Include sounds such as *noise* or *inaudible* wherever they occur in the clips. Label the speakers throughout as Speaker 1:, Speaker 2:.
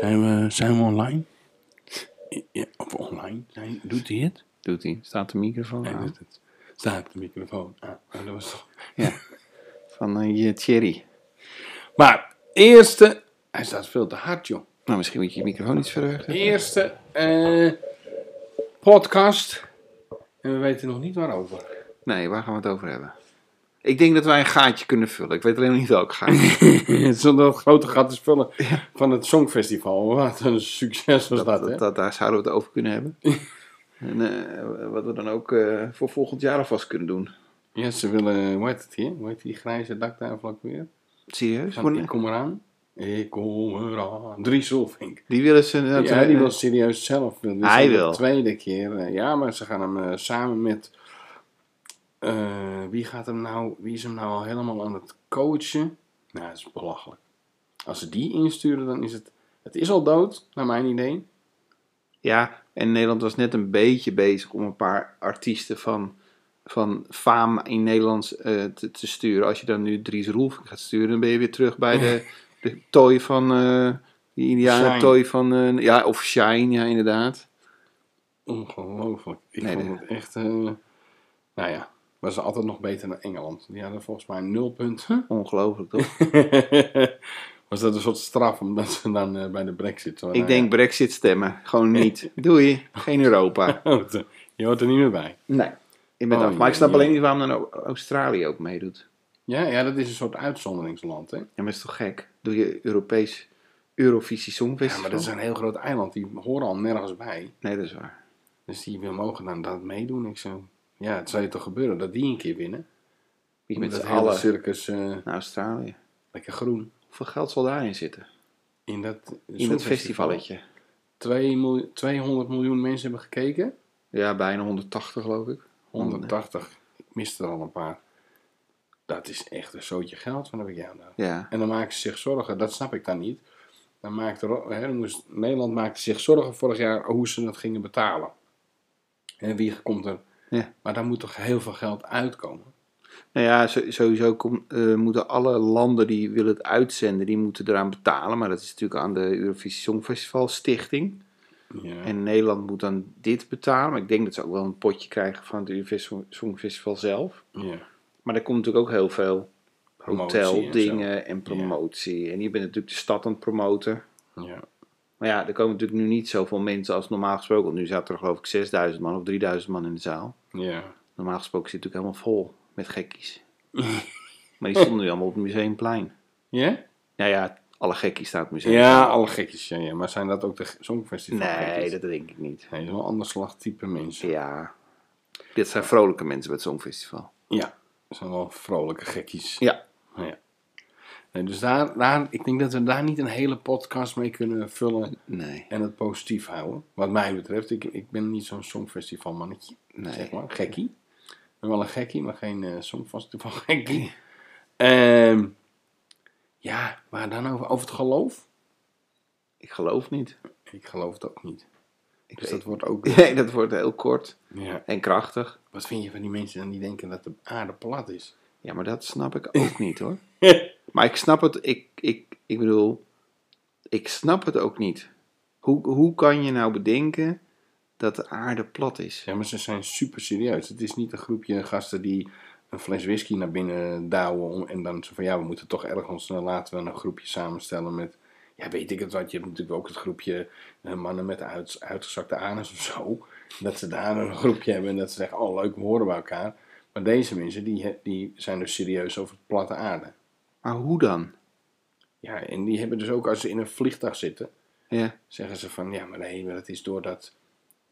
Speaker 1: Zijn we, zijn we online? Ja, of online? Zijn, doet hij het?
Speaker 2: Doet hij? Staat de microfoon
Speaker 1: Hij
Speaker 2: aan?
Speaker 1: doet het. Staat de microfoon aan. Maar dat was toch...
Speaker 2: Ja. Van eh, je Thierry.
Speaker 1: Maar, eerste... Hij staat veel te hard, joh.
Speaker 2: Nou, misschien moet je je microfoon iets verder weg. zetten.
Speaker 1: Eerste eh, podcast. En we weten nog niet *laughs* waarover.
Speaker 2: Nee, waar gaan we het over hebben? Ik denk dat wij een gaatje kunnen vullen. Ik weet alleen nog niet welk
Speaker 1: *laughs*
Speaker 2: gaatje.
Speaker 1: Zonder dat grote gat te vullen van het Songfestival. Wat een succes was dat,
Speaker 2: dat,
Speaker 1: hè?
Speaker 2: dat, daar zouden we het over
Speaker 1: *laughs*
Speaker 2: kunnen hebben. en eh, wat we dan ook eh, voor volgend jaar alvast kunnen doen.
Speaker 1: Ja, ze willen... Hoe heet het hier? Hoe heet die grijze daktafel ook weer?
Speaker 2: Serieus?
Speaker 1: Van, ik kom eraan. Ik kom eraan. Drie Solvink.
Speaker 2: Die willen ze... dat-
Speaker 1: ja, die wil serieus zelf. Wil. Dit is
Speaker 2: Hij
Speaker 1: al de
Speaker 2: wil.
Speaker 1: tweede keer. eh, ja, maar ze gaan hem eh, samen met. eh, wie gaat hem nou. Wie is hem nou al helemaal aan het coachen? Nou, dat is belachelijk. Als ze die insturen, dan is het. Het is al dood, naar mijn idee.
Speaker 2: Ja, en Nederland was net een beetje bezig om een paar artiesten van, van fame in Nederlands eh, te, te sturen. Als je dan nu Dries Roelf gaat sturen, dan ben je weer terug bij de, de toy van... eh die Indianen
Speaker 1: Shine.
Speaker 2: toy van... eh, ja, of Shine, ja inderdaad.
Speaker 1: Ongelooflijk. Ik
Speaker 2: Nee,
Speaker 1: vond
Speaker 2: dat-
Speaker 1: het echt. eh, nou ja, was altijd nog beter dan Engeland. Die hadden volgens mij nul
Speaker 2: *laughs*
Speaker 1: punten. *laughs*
Speaker 2: Ongelooflijk, toch?
Speaker 1: Nou was dat een soort straf omdat ze dan eh, bij de Brexit waren?
Speaker 2: Ik denk Brexit stemmen. Gewoon niet. Doei. Geen Europa.
Speaker 1: *laughs* Je hoort er niet meer bij.
Speaker 2: Nee. Ik ben
Speaker 1: Oh,
Speaker 2: af. Maar
Speaker 1: jee,
Speaker 2: ik snap
Speaker 1: jee.
Speaker 2: alleen niet waarom dan ook Australië ook meedoet.
Speaker 1: Ja, ja, dat is een soort uitzonderingsland, hè?
Speaker 2: Ja, maar is toch gek? Doe je Europees Eurovisie Songfestival?
Speaker 1: Ja, maar dat is een heel groot eiland. Die horen al nergens bij.
Speaker 2: Nee, dat is waar.
Speaker 1: Dus die wil mogen dan dat meedoen. Ik zo. Ja, het zou je toch gebeuren dat die een keer winnen?
Speaker 2: Je met
Speaker 1: dat
Speaker 2: z'n
Speaker 1: hele
Speaker 2: allen
Speaker 1: circus eh,
Speaker 2: naar Australië.
Speaker 1: lekker groen.
Speaker 2: Hoeveel geld zal daarin zitten?
Speaker 1: In dat,
Speaker 2: In dat festivalletje.
Speaker 1: Twee miljoen, 200 miljoen mensen hebben gekeken.
Speaker 2: Ja, bijna 180 geloof ik.
Speaker 1: 180. Ik miste er al een paar. Dat is echt een zootje geld. Van heb ik jou nou?
Speaker 2: Ja.
Speaker 1: En dan maken ze zich zorgen, dat snap ik dan niet. Dan maakte, Ro- hè, dan moest- Nederland maakte zich zorgen vorig jaar hoe ze dat gingen betalen. En wie komt er?
Speaker 2: Ja.
Speaker 1: Maar daar moet toch heel veel geld uitkomen?
Speaker 2: Nou ja, zo- sowieso kom- eh, moeten alle landen die willen het uitzenden, die moeten eraan betalen. Maar dat is natuurlijk aan de Eurovisie Songfestival Stichting.
Speaker 1: Ja.
Speaker 2: En Nederland moet dan dit betalen. Maar ik denk dat ze ook wel een potje krijgen van het Eurovisie Song- Songfestival zelf.
Speaker 1: ja.
Speaker 2: Maar daar komt natuurlijk ook heel veel
Speaker 1: Promotie en zo.
Speaker 2: hoteldingen en promotie. En je bent natuurlijk de stad aan het promoten.
Speaker 1: Ja.
Speaker 2: Maar ja, er komen natuurlijk nu niet zoveel mensen als normaal gesproken. Want nu zaten er geloof ik 6000 man of 3000 man in de zaal.
Speaker 1: ja.
Speaker 2: Normaal gesproken zit het natuurlijk helemaal vol met *laughs* gekkies. maar die stonden nu allemaal op het museumplein.
Speaker 1: Ja?
Speaker 2: Nou ja, alle gekkies staan op het museum.
Speaker 1: Ja, alle gekjes. Ja, ja. Maar zijn dat ook de ge- songfestival
Speaker 2: Nee,
Speaker 1: gekjes?
Speaker 2: dat denk ik niet.
Speaker 1: Nee, dat is wel een ander slag type mensen.
Speaker 2: Ja. Dit zijn vrolijke mensen bij het Songfestival.
Speaker 1: Ja, dat zijn wel vrolijke gekkies.
Speaker 2: Ja.
Speaker 1: ja. Nee, dus daar, daar, ik denk dat we daar niet een hele podcast mee kunnen vullen.
Speaker 2: Nee.
Speaker 1: En het positief houden. Wat mij betreft, ik, ik ben niet zo'n songfestivalmannetje.
Speaker 2: Nee.
Speaker 1: Zeg maar, gekkie. Ik ben wel een gekkie, maar geen eh songfestival gekkie. Ehm, ja, waar dan over? Over het geloof?
Speaker 2: Ik geloof niet.
Speaker 1: Ik geloof het ook niet.
Speaker 2: Ik
Speaker 1: Dus dat
Speaker 2: weet-
Speaker 1: wordt ook...
Speaker 2: *laughs* Nee, dat wordt heel kort
Speaker 1: Ja.
Speaker 2: en krachtig.
Speaker 1: Wat vind je van die mensen dan die denken dat de aarde plat
Speaker 2: *laughs*
Speaker 1: is?
Speaker 2: Ja, maar dat snap ik *laughs* ook niet hoor. Maar ik snap het, ik, ik, ik bedoel, ik snap het ook niet. Hoe, hoe kan je nou bedenken dat de aarde plat is?
Speaker 1: Ja, maar ze zijn super serieus. Het is niet een groepje gasten die een fles whisky naar binnen douwen. om- en dan zo van ja, we moeten toch ergens. eh, laten we een groepje samenstellen met. Ja, weet ik het wat. Je hebt natuurlijk ook het groepje eh, mannen met uit, uitgezakte anus of zo. Dat ze daar een groepje hebben en dat ze zeggen: oh leuk, we horen bij elkaar. Maar deze mensen die, he- die zijn dus serieus over het platte aarde.
Speaker 2: Maar hoe dan?
Speaker 1: Ja, en die hebben dus ook als ze in een vliegtuig zitten.
Speaker 2: Ja,
Speaker 1: zeggen ze van ja, maar nee, maar dat is door dat,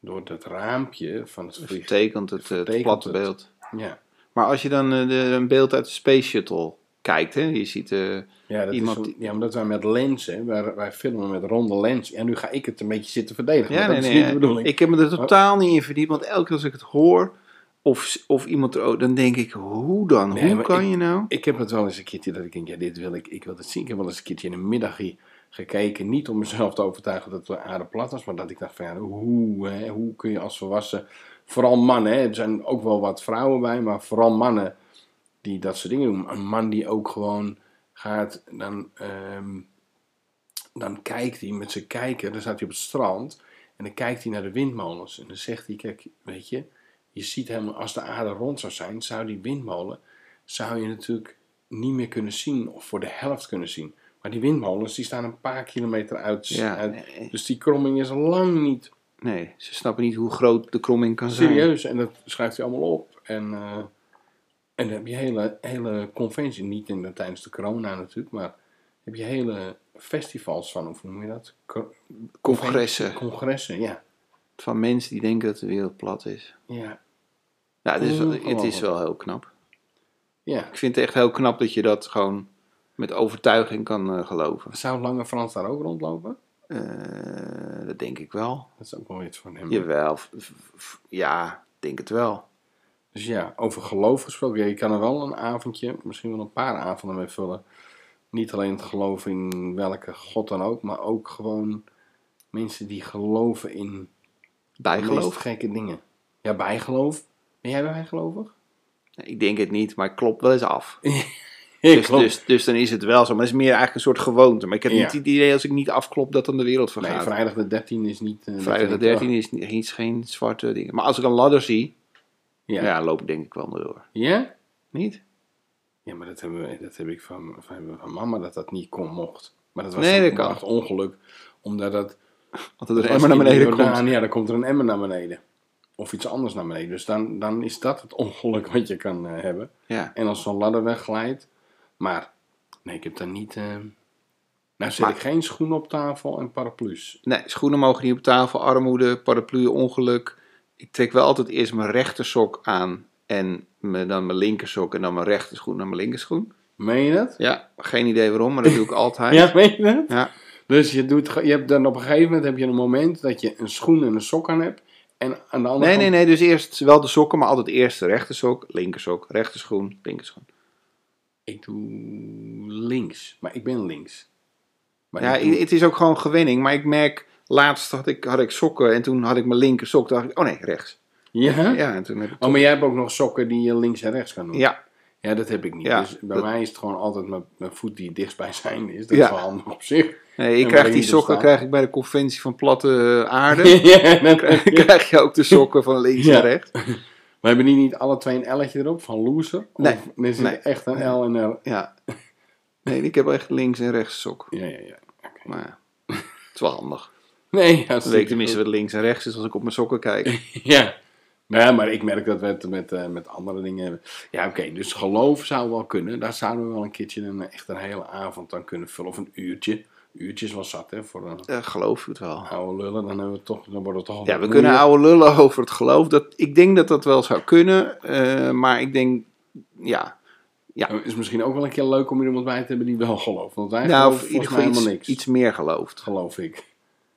Speaker 1: door dat raampje van het
Speaker 2: dat
Speaker 1: vliegtuig.
Speaker 2: vertekent het, eh, het
Speaker 1: Vertekent
Speaker 2: platte
Speaker 1: het.
Speaker 2: beeld.
Speaker 1: Ja.
Speaker 2: Maar als je dan eh, de, een beeld uit de Space Shuttle kijkt, hè, je ziet... eh,
Speaker 1: Ja, dat
Speaker 2: Iemand
Speaker 1: is,
Speaker 2: die-
Speaker 1: zo- ja, omdat wij met lenzen, wij, wij filmen met ronde lens. En nu ga ik het een beetje zitten verdedigen.
Speaker 2: ja,
Speaker 1: maar
Speaker 2: nee,
Speaker 1: dat
Speaker 2: nee,
Speaker 1: is niet de bedoeling. Oh.
Speaker 2: ik heb me er totaal niet in verdiept, want elke keer als ik het hoor... Of, of iemand er ook, dan denk ik, hoe dan?
Speaker 1: Nee,
Speaker 2: hoe
Speaker 1: maar
Speaker 2: kan
Speaker 1: ik-
Speaker 2: je nou?
Speaker 1: Ik heb het wel eens een keertje dat ik denk, ja, dit wil ik, ik wil het zien. Ik heb wel eens een keertje in een middagje gekeken. Niet om mezelf te overtuigen dat de aarde plat was, maar dat ik dacht van, ja, hoe, hè, hoe kun je als volwassen... Vooral mannen, hè, er zijn ook wel wat vrouwen bij, maar vooral mannen die dat soort dingen doen. Een man die ook gewoon gaat dan... ehm, dan kijkt hij met zijn kijker, dan staat hij op het strand en dan kijkt hij naar de windmolens. En dan zegt hij, kijk, weet je, je ziet helemaal, als de aarde rond zou zijn, zou die windmolen, zou je natuurlijk niet meer kunnen zien of voor de helft kunnen zien. Maar die windmolens, die staan een paar kilometer uit.
Speaker 2: Ja,
Speaker 1: uit
Speaker 2: nee.
Speaker 1: Dus die kromming is lang niet
Speaker 2: nee, ze snappen niet hoe groot de kromming kan zijn.
Speaker 1: serieus. En dat schrijft hij allemaal op. En, eh, en dan heb je hele, hele conventie, niet in de, tijdens de corona natuurlijk, maar heb je hele festivals van, of hoe noem je dat? Co-
Speaker 2: Congressen
Speaker 1: Congressen, ja.
Speaker 2: van mensen die denken dat de wereld plat is.
Speaker 1: Ja,
Speaker 2: Ja, Nou, het is, wel- het is
Speaker 1: Ongelooflijk.
Speaker 2: Mm, wel heel knap.
Speaker 1: ja.
Speaker 2: Ik vind het echt heel knap dat je dat gewoon met overtuiging kan eh, geloven.
Speaker 1: Zou Lange Frans daar ook rondlopen?
Speaker 2: Eh, dat denk ik wel.
Speaker 1: Dat is ook wel iets van hem.
Speaker 2: Mm. Jawel. f- f- f- Ja, ik denk het wel.
Speaker 1: Dus ja, over geloof gesproken. ja, je kan er wel een avondje, misschien wel een paar avonden mee vullen. Niet alleen het geloof in welke god dan ook, maar ook gewoon mensen die geloven in de meest
Speaker 2: Bijgeloof?
Speaker 1: gekke dingen. Ja, bijgeloof. Ben jij bijgelovig?
Speaker 2: Ik denk het niet, maar het klopt wel eens af.
Speaker 1: Ik
Speaker 2: Dus, dus, dus dan is het wel zo. Maar het is meer eigenlijk een soort gewoonte. Maar ik heb
Speaker 1: Ja.
Speaker 2: niet het idee als ik niet afklop dat dan de wereld vergaat.
Speaker 1: nee, vrijdag de 13 is niet... eh,
Speaker 2: Vrijdag de
Speaker 1: dat je denkt,
Speaker 2: 13 is niet, is geen zwarte ding. Maar als ik een ladder zie,
Speaker 1: oh,
Speaker 2: ja,
Speaker 1: Ja.
Speaker 2: loop ik denk ik wel door.
Speaker 1: Ja?
Speaker 2: Niet?
Speaker 1: Ja, maar dat, hebben we, dat heb ik van, van, hebben we van mama, dat dat niet kon, mocht. Maar dat was
Speaker 2: Nee, dat
Speaker 1: een
Speaker 2: kan.
Speaker 1: echt ongeluk. Omdat dat...
Speaker 2: Want er een
Speaker 1: Als
Speaker 2: emmer naar
Speaker 1: in de
Speaker 2: beneden
Speaker 1: Jordaan,
Speaker 2: komt.
Speaker 1: Ja, dan komt er een emmer naar beneden. Of iets anders naar beneden. Dus dan, dan is dat het ongeluk wat je kan eh, hebben.
Speaker 2: Ja.
Speaker 1: En als zo'n ladder wegglijdt. Maar nee, ik heb daar niet... eh, Nou zet
Speaker 2: Maar-
Speaker 1: ik geen schoenen op tafel en paraplu's.
Speaker 2: Nee, schoenen mogen niet op tafel, armoede, paraplu, ongeluk. Ik trek wel altijd eerst mijn rechter sok aan en me, dan mijn linker sok en dan mijn rechter schoen en mijn linkerschoen.
Speaker 1: Meen je dat?
Speaker 2: Ja, geen idee waarom, maar
Speaker 1: *laughs*
Speaker 2: dat doe ik altijd.
Speaker 1: Ja, meen je dat?
Speaker 2: Ja.
Speaker 1: Dus je, doet, ge- je hebt dan op een gegeven moment heb je een moment dat je een schoen en een sok aan hebt. En aan de andere
Speaker 2: Nee,
Speaker 1: kant...
Speaker 2: nee, nee, dus eerst wel de sokken, maar altijd eerst de rechter sok, linker sok, rechter schoen, linker schoen.
Speaker 1: Ik doe links. Maar ik ben links. Maar
Speaker 2: Ja,
Speaker 1: ik doe-
Speaker 2: i- het is ook gewoon gewenning, maar ik merk, laatst had ik, had ik sokken en toen had ik mijn linker sok, toen dacht ik, oh nee, rechts.
Speaker 1: ja?
Speaker 2: Ja, en toen heb ik...
Speaker 1: Oh, maar jij hebt ook nog sokken die je links en rechts kan doen.
Speaker 2: Ja,
Speaker 1: Ja, dat heb ik niet.
Speaker 2: Ja,
Speaker 1: dus bij
Speaker 2: dat-
Speaker 1: mij is het gewoon altijd mijn, mijn voet die het dichtstbij zijn is. Dat
Speaker 2: Ja.
Speaker 1: is wel handig op
Speaker 2: *laughs*
Speaker 1: zich.
Speaker 2: nee,
Speaker 1: En
Speaker 2: ik krijg
Speaker 1: waarin
Speaker 2: die
Speaker 1: ze
Speaker 2: sokken
Speaker 1: staan.
Speaker 2: krijg ik bij de conventie van platte eh, aarde.
Speaker 1: *laughs* Ja,
Speaker 2: *laughs*
Speaker 1: dat-
Speaker 2: Dan krijg je ook de sokken van links
Speaker 1: Ja.
Speaker 2: en rechts.
Speaker 1: We hebben die niet alle twee een L'tje erop van loser. Of
Speaker 2: Nee,
Speaker 1: Er zit
Speaker 2: nee.
Speaker 1: echt een L en een L.
Speaker 2: Ja. Nee, ik heb echt links en rechts sok.
Speaker 1: Ja, ja, ja.
Speaker 2: Maar ja, het is wel handig.
Speaker 1: Nee,
Speaker 2: Dan
Speaker 1: hartstikke
Speaker 2: weet ik tenminste
Speaker 1: goed.
Speaker 2: wat links en rechts is als ik op mijn sokken kijk.
Speaker 1: *laughs* Ja. Nou, maar ik merk dat we het met, eh, met andere dingen hebben. Ja, oké. dus geloof zou wel kunnen. Daar zouden we wel een keertje een, eh, echt een hele avond aan kunnen vullen. Of een uurtje. Uurtjes was zat, hè. Voor een
Speaker 2: Eh, geloof ik het wel.
Speaker 1: oude lullen. Dan, hebben we toch, dan wordt het toch al
Speaker 2: Ja,
Speaker 1: wat
Speaker 2: we kunnen
Speaker 1: moeier.
Speaker 2: ouwe lullen over het geloof. Dat, ik denk dat dat wel zou kunnen. eh, maar ik denk, ja.
Speaker 1: Het Eh, is misschien ook wel een keer leuk om iemand bij te hebben die wel gelooft. Want wij
Speaker 2: nou,
Speaker 1: geloven
Speaker 2: of in
Speaker 1: volgens
Speaker 2: ieder geval
Speaker 1: mij helemaal
Speaker 2: iets,
Speaker 1: niks.
Speaker 2: iets meer gelooft.
Speaker 1: Geloof ik.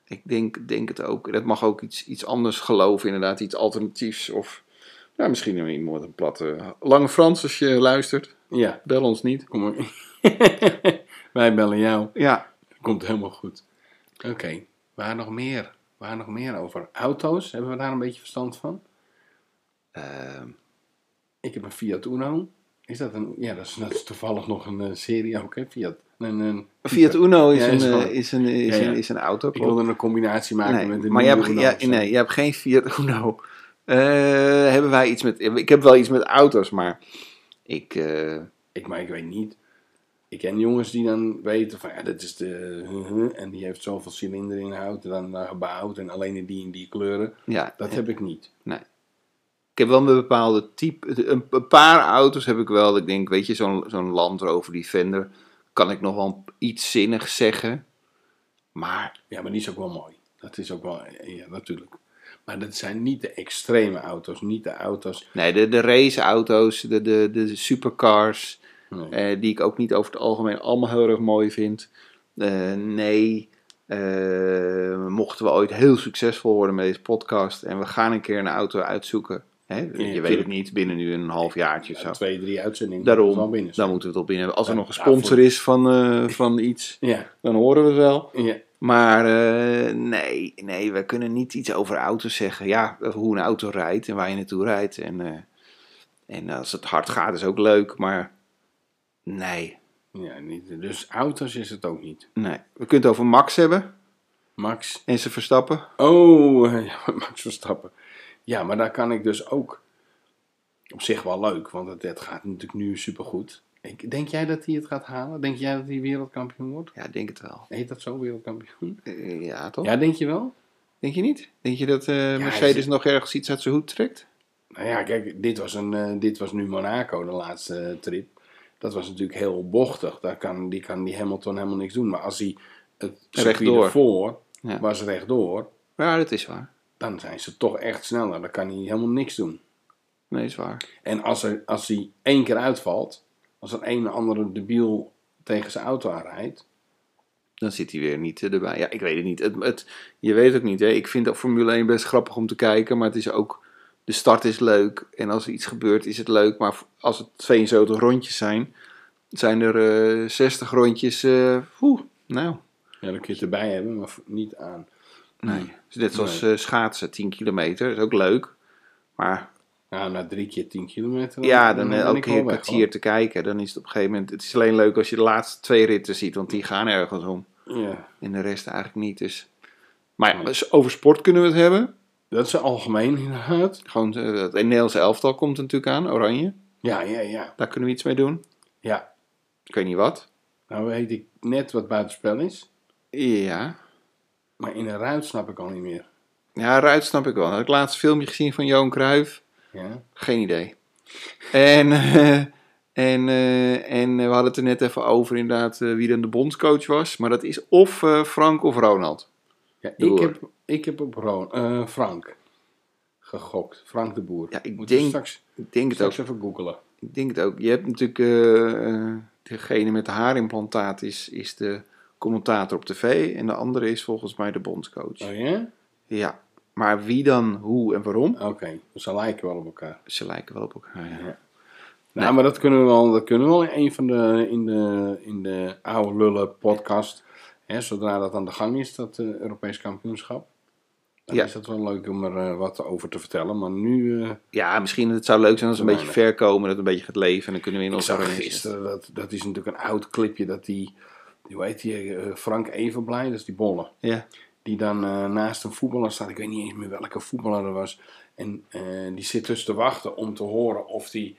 Speaker 2: Ik denk, denk het ook. Dat mag ook iets, iets anders geloven, inderdaad. Iets alternatiefs. Of ja, misschien iemand een platte. Lange Frans, als je luistert.
Speaker 1: Ja,
Speaker 2: Bel ons niet.
Speaker 1: kom maar. *laughs* Wij bellen jou.
Speaker 2: Ja,
Speaker 1: Komt helemaal goed. Oké, waar nog meer? Waar nog meer over? Auto's, hebben we daar een beetje verstand van?
Speaker 2: Ehm,
Speaker 1: Ik heb een Fiat Uno. Is dat een... Ja, dat is, dat is toevallig nog een eh, serie ook, hè? Fiat. Een, een,
Speaker 2: Fiat Uno is,
Speaker 1: Ja, is
Speaker 2: een,
Speaker 1: wel-
Speaker 2: eh, is, een, is,
Speaker 1: Ja, ja.
Speaker 2: een, is een auto.
Speaker 1: Ik
Speaker 2: klopt.
Speaker 1: wilde een combinatie maken
Speaker 2: nee,
Speaker 1: met een
Speaker 2: maar je hebt,
Speaker 1: nieuwe
Speaker 2: ge-
Speaker 1: Uno
Speaker 2: ja,
Speaker 1: of zo.
Speaker 2: nee, je hebt geen Fiat Uno. Eh, hebben wij iets met. Ik heb wel iets met auto's, maar ik. eh,
Speaker 1: Ik, maar ik weet niet. Ik ken jongens die dan weten van, ja, dat is de... *laughs* En die heeft zoveel cilinder inhoud en dan eh, gebouwd en alleen in die en die kleuren.
Speaker 2: ja,
Speaker 1: Dat heb ik niet.
Speaker 2: ik heb wel een bepaalde type. Een, een paar auto's heb ik wel. dat Ik denk, weet je, zo'n zo'n Land Rover Defender. Kan ik nog wel iets zinnigs zeggen. Maar
Speaker 1: Ja, maar die is ook wel mooi. Dat is ook wel, ja, natuurlijk. Maar dat zijn niet de extreme auto's, niet de auto's.
Speaker 2: nee, de, de raceauto's, de, de, de supercars.
Speaker 1: Nee.
Speaker 2: Eh, die ik ook niet over het algemeen allemaal heel erg mooi vind. Eh, nee, eh, mochten we ooit heel succesvol worden met deze podcast en we gaan een keer een auto uitzoeken. Hè? je weet het
Speaker 1: tuurlijk.
Speaker 2: niet, binnen nu een half jaartje of
Speaker 1: Ja,
Speaker 2: zo.
Speaker 1: twee, drie uitzendingen.
Speaker 2: Daarom,
Speaker 1: wel binnen.
Speaker 2: dan moeten we het op binnen. Als er
Speaker 1: Ja,
Speaker 2: nog een
Speaker 1: ja,
Speaker 2: sponsor
Speaker 1: voor-
Speaker 2: is van, eh, van iets,
Speaker 1: Ja,
Speaker 2: dan horen we het wel.
Speaker 1: ja.
Speaker 2: Maar eh, nee, nee, we kunnen niet iets over auto's zeggen. Ja, hoe een auto rijdt en waar je naartoe rijdt. En, eh, en als het hard gaat is ook leuk, maar nee,
Speaker 1: Ja, niet, dus auto's is het ook niet.
Speaker 2: Nee. We kunnen het over Max hebben
Speaker 1: Max.
Speaker 2: en ze verstappen.
Speaker 1: Oh, *laughs* ja, Max Verstappen. Ja, maar daar kan ik dus ook op zich wel leuk, want het, het gaat natuurlijk nu supergoed. Ik, denk jij dat hij het gaat halen? Denk jij dat hij wereldkampioen wordt?
Speaker 2: Ja, ik denk het wel.
Speaker 1: Heet dat zo, wereldkampioen?
Speaker 2: Eh, Ja, toch?
Speaker 1: Ja, denk je wel?
Speaker 2: Denk je niet? Denk je dat eh,
Speaker 1: Ja,
Speaker 2: Mercedes
Speaker 1: is-
Speaker 2: nog ergens iets uit zijn hoed trekt?
Speaker 1: Nou ja, kijk, dit was, een, eh, dit was nu Monaco, de laatste eh, trip. Dat was natuurlijk heel bochtig. Daar kan, die kan die Hamilton helemaal niks doen. Maar als hij het circuit
Speaker 2: Rechtdoor.
Speaker 1: ervoor
Speaker 2: Ja.
Speaker 1: was rechtdoor,
Speaker 2: Ja, dat is waar.
Speaker 1: dan zijn ze toch echt sneller. Dan kan hij helemaal niks doen.
Speaker 2: Nee, dat is waar.
Speaker 1: En als, er, als hij één keer uitvalt, als er een of andere debiel tegen zijn auto aanrijdt.
Speaker 2: Dan zit hij weer niet eh, erbij. Ja, ik weet het niet. Het, het, je weet het ook niet. Hè? Ik vind dat Formule 1 best grappig om te kijken. Maar het is ook... De start is leuk. En als er iets gebeurt is het leuk. Maar als het 72 rondjes zijn... Zijn er eh, 60 rondjes... eh Oeh, nou...
Speaker 1: Ja, dan kun je het erbij hebben, maar niet aan.
Speaker 2: Nee. Dus net zoals eh, schaatsen, 10 kilometer. is ook leuk. Maar
Speaker 1: Nou, na drie keer 10 kilometer.
Speaker 2: Ja, dan, eh,
Speaker 1: ben ik
Speaker 2: ook
Speaker 1: wel
Speaker 2: hier een
Speaker 1: weg,
Speaker 2: kwartier te kijken. Dan is het op een gegeven moment. Het is alleen leuk als je de laatste twee ritten ziet, want die gaan ergens om.
Speaker 1: hoor. Ja.
Speaker 2: En de rest eigenlijk niet. Dus. Maar ja, dus over sport kunnen we het hebben.
Speaker 1: Dat is algemeen inderdaad.
Speaker 2: Gewoon eh, het Nederlandse elftal komt er natuurlijk aan, Oranje.
Speaker 1: Ja, ja, ja.
Speaker 2: Daar kunnen we iets mee doen.
Speaker 1: Ja,
Speaker 2: Ik weet niet wat.
Speaker 1: Nou weet ik net wat buitenspel is.
Speaker 2: Ja.
Speaker 1: Maar in een ruit snap ik al niet meer.
Speaker 2: Ja, Ruit snap ik wel. Had ik laatst een filmpje gezien van Johan Cruijff.
Speaker 1: Ja,
Speaker 2: Geen idee. En, eh, en, eh, en we hadden het er net even over inderdaad eh, wie dan de bondscoach was. Maar dat is of eh, Frank of Ronald.
Speaker 1: ja ik,
Speaker 2: Door.
Speaker 1: heb, ik heb op Ron, eh, Frank gegokt. Frank de Boer.
Speaker 2: Ja, ik
Speaker 1: Moeten we
Speaker 2: denk-
Speaker 1: straks,
Speaker 2: Ik denk het ook.
Speaker 1: straks even googelen.
Speaker 2: Ik denk het ook. Je hebt natuurlijk eh, eh, degene met de haarimplantaat is, is de commentator op tv en de andere is volgens mij de bondscoach.
Speaker 1: Oh ja?
Speaker 2: Ja, maar wie dan, hoe en waarom?
Speaker 1: Oké, dus ze lijken wel op elkaar.
Speaker 2: Ze lijken wel op elkaar. Ja.
Speaker 1: Nou, maar dat kunnen we wel, dat kunnen we wel in een van de, in de, in de oude lullen podcast. Hè, zodra dat aan de gang is, dat eh, Europees kampioenschap. Dan
Speaker 2: Ja.
Speaker 1: is dat wel leuk om er eh, wat over te vertellen. Maar nu... eh,
Speaker 2: Ja, misschien het zou leuk zijn als we een
Speaker 1: Nee,
Speaker 2: beetje ver komen, dat het een beetje gaat leven en dan kunnen we in
Speaker 1: Ik
Speaker 2: onze
Speaker 1: zag
Speaker 2: range-
Speaker 1: gisteren, dat, dat is natuurlijk een oud clipje, dat die, die hoe heet die, eh, Frank Evenblij, dat is die bolle,
Speaker 2: Ja.
Speaker 1: die dan eh, naast een voetballer staat, ik weet niet eens meer welke voetballer er was, en eh, die zit dus te wachten om te horen of die,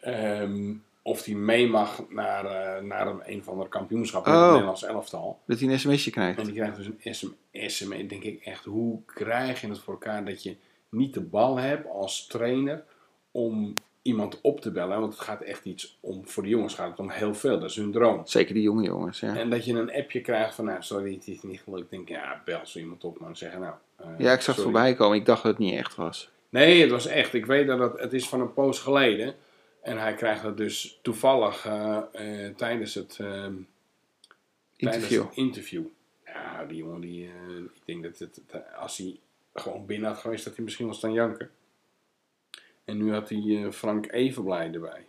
Speaker 1: ehm, of die mee mag naar, eh, naar een, een van de kampioenschappen in
Speaker 2: Oh.
Speaker 1: het Nederlands elftal.
Speaker 2: Dat hij een sms'je krijgt.
Speaker 1: En die krijgt dus een sms, en dan denk ik echt, hoe krijg je het voor elkaar dat je niet de bal hebt als trainer om iemand op te bellen, want het gaat echt iets om, voor de jongens gaat het om heel veel, dat is hun droom.
Speaker 2: Zeker die jonge jongens, ja.
Speaker 1: En dat je een appje krijgt van, nou sorry, het is niet gelukt, denk ik, ja, bel zo iemand op, man, zeggen nou. eh,
Speaker 2: Ja, ik zag het
Speaker 1: sorry.
Speaker 2: voorbij komen. Ik dacht dat het niet echt was.
Speaker 1: Nee, het was echt, ik weet dat het, het is van een poos geleden en hij krijgt dat dus toevallig eh, eh, tijdens het... ehm,
Speaker 2: Interview.
Speaker 1: Tijdens een interview. Ja, die jongen, die, eh, ik denk dat het, het- als hij gewoon binnen had geweest, dat hij misschien wel staan janken. En nu had hij eh, Frank Evenblij erbij.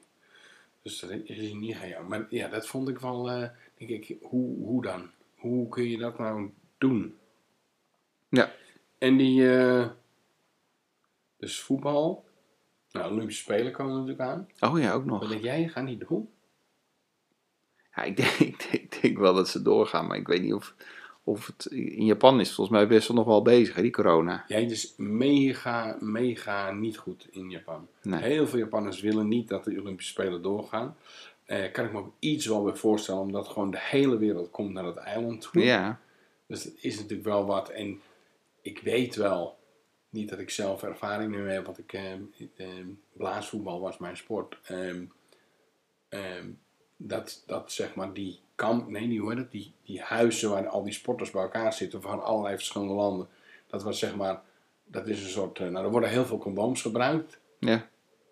Speaker 1: Dus dat is hij niet gaan janken. Maar ja, dat vond ik wel, eh, denk ik, hoe, hoe dan? Hoe kun je dat nou doen?
Speaker 2: Ja.
Speaker 1: En die, eh, dus voetbal. Nou, Olympische Spelen komen natuurlijk aan.
Speaker 2: Oh ja, ook
Speaker 1: Wat
Speaker 2: nog.
Speaker 1: denk jij, ga niet doen?
Speaker 2: Ja, ik, denk, *laughs* ik, denk, ik denk wel dat ze doorgaan, maar ik weet niet of, of het... In Japan is het volgens mij best wel nog wel bezig, hè, die corona.
Speaker 1: Ja, het is mega, mega niet goed in Japan.
Speaker 2: Nee.
Speaker 1: Heel veel Japanners willen niet dat de Olympische Spelen doorgaan. Eh, kan ik me ook iets wel bij voorstellen, omdat gewoon de hele wereld komt naar dat eiland toe.
Speaker 2: Ja,
Speaker 1: Dus dat is natuurlijk wel wat. En ik weet wel, niet dat ik zelf ervaring mee heb, want ik, ehm, ehm, blaasvoetbal was mijn sport. Ehm, ehm, dat, dat zeg maar die kamp, nee, die, hoe heet dat? Die, die huizen waar al die sporters bij elkaar zitten van allerlei verschillende landen. Dat was zeg maar, dat is een soort, eh, nou er worden heel veel condooms gebruikt.
Speaker 2: ja.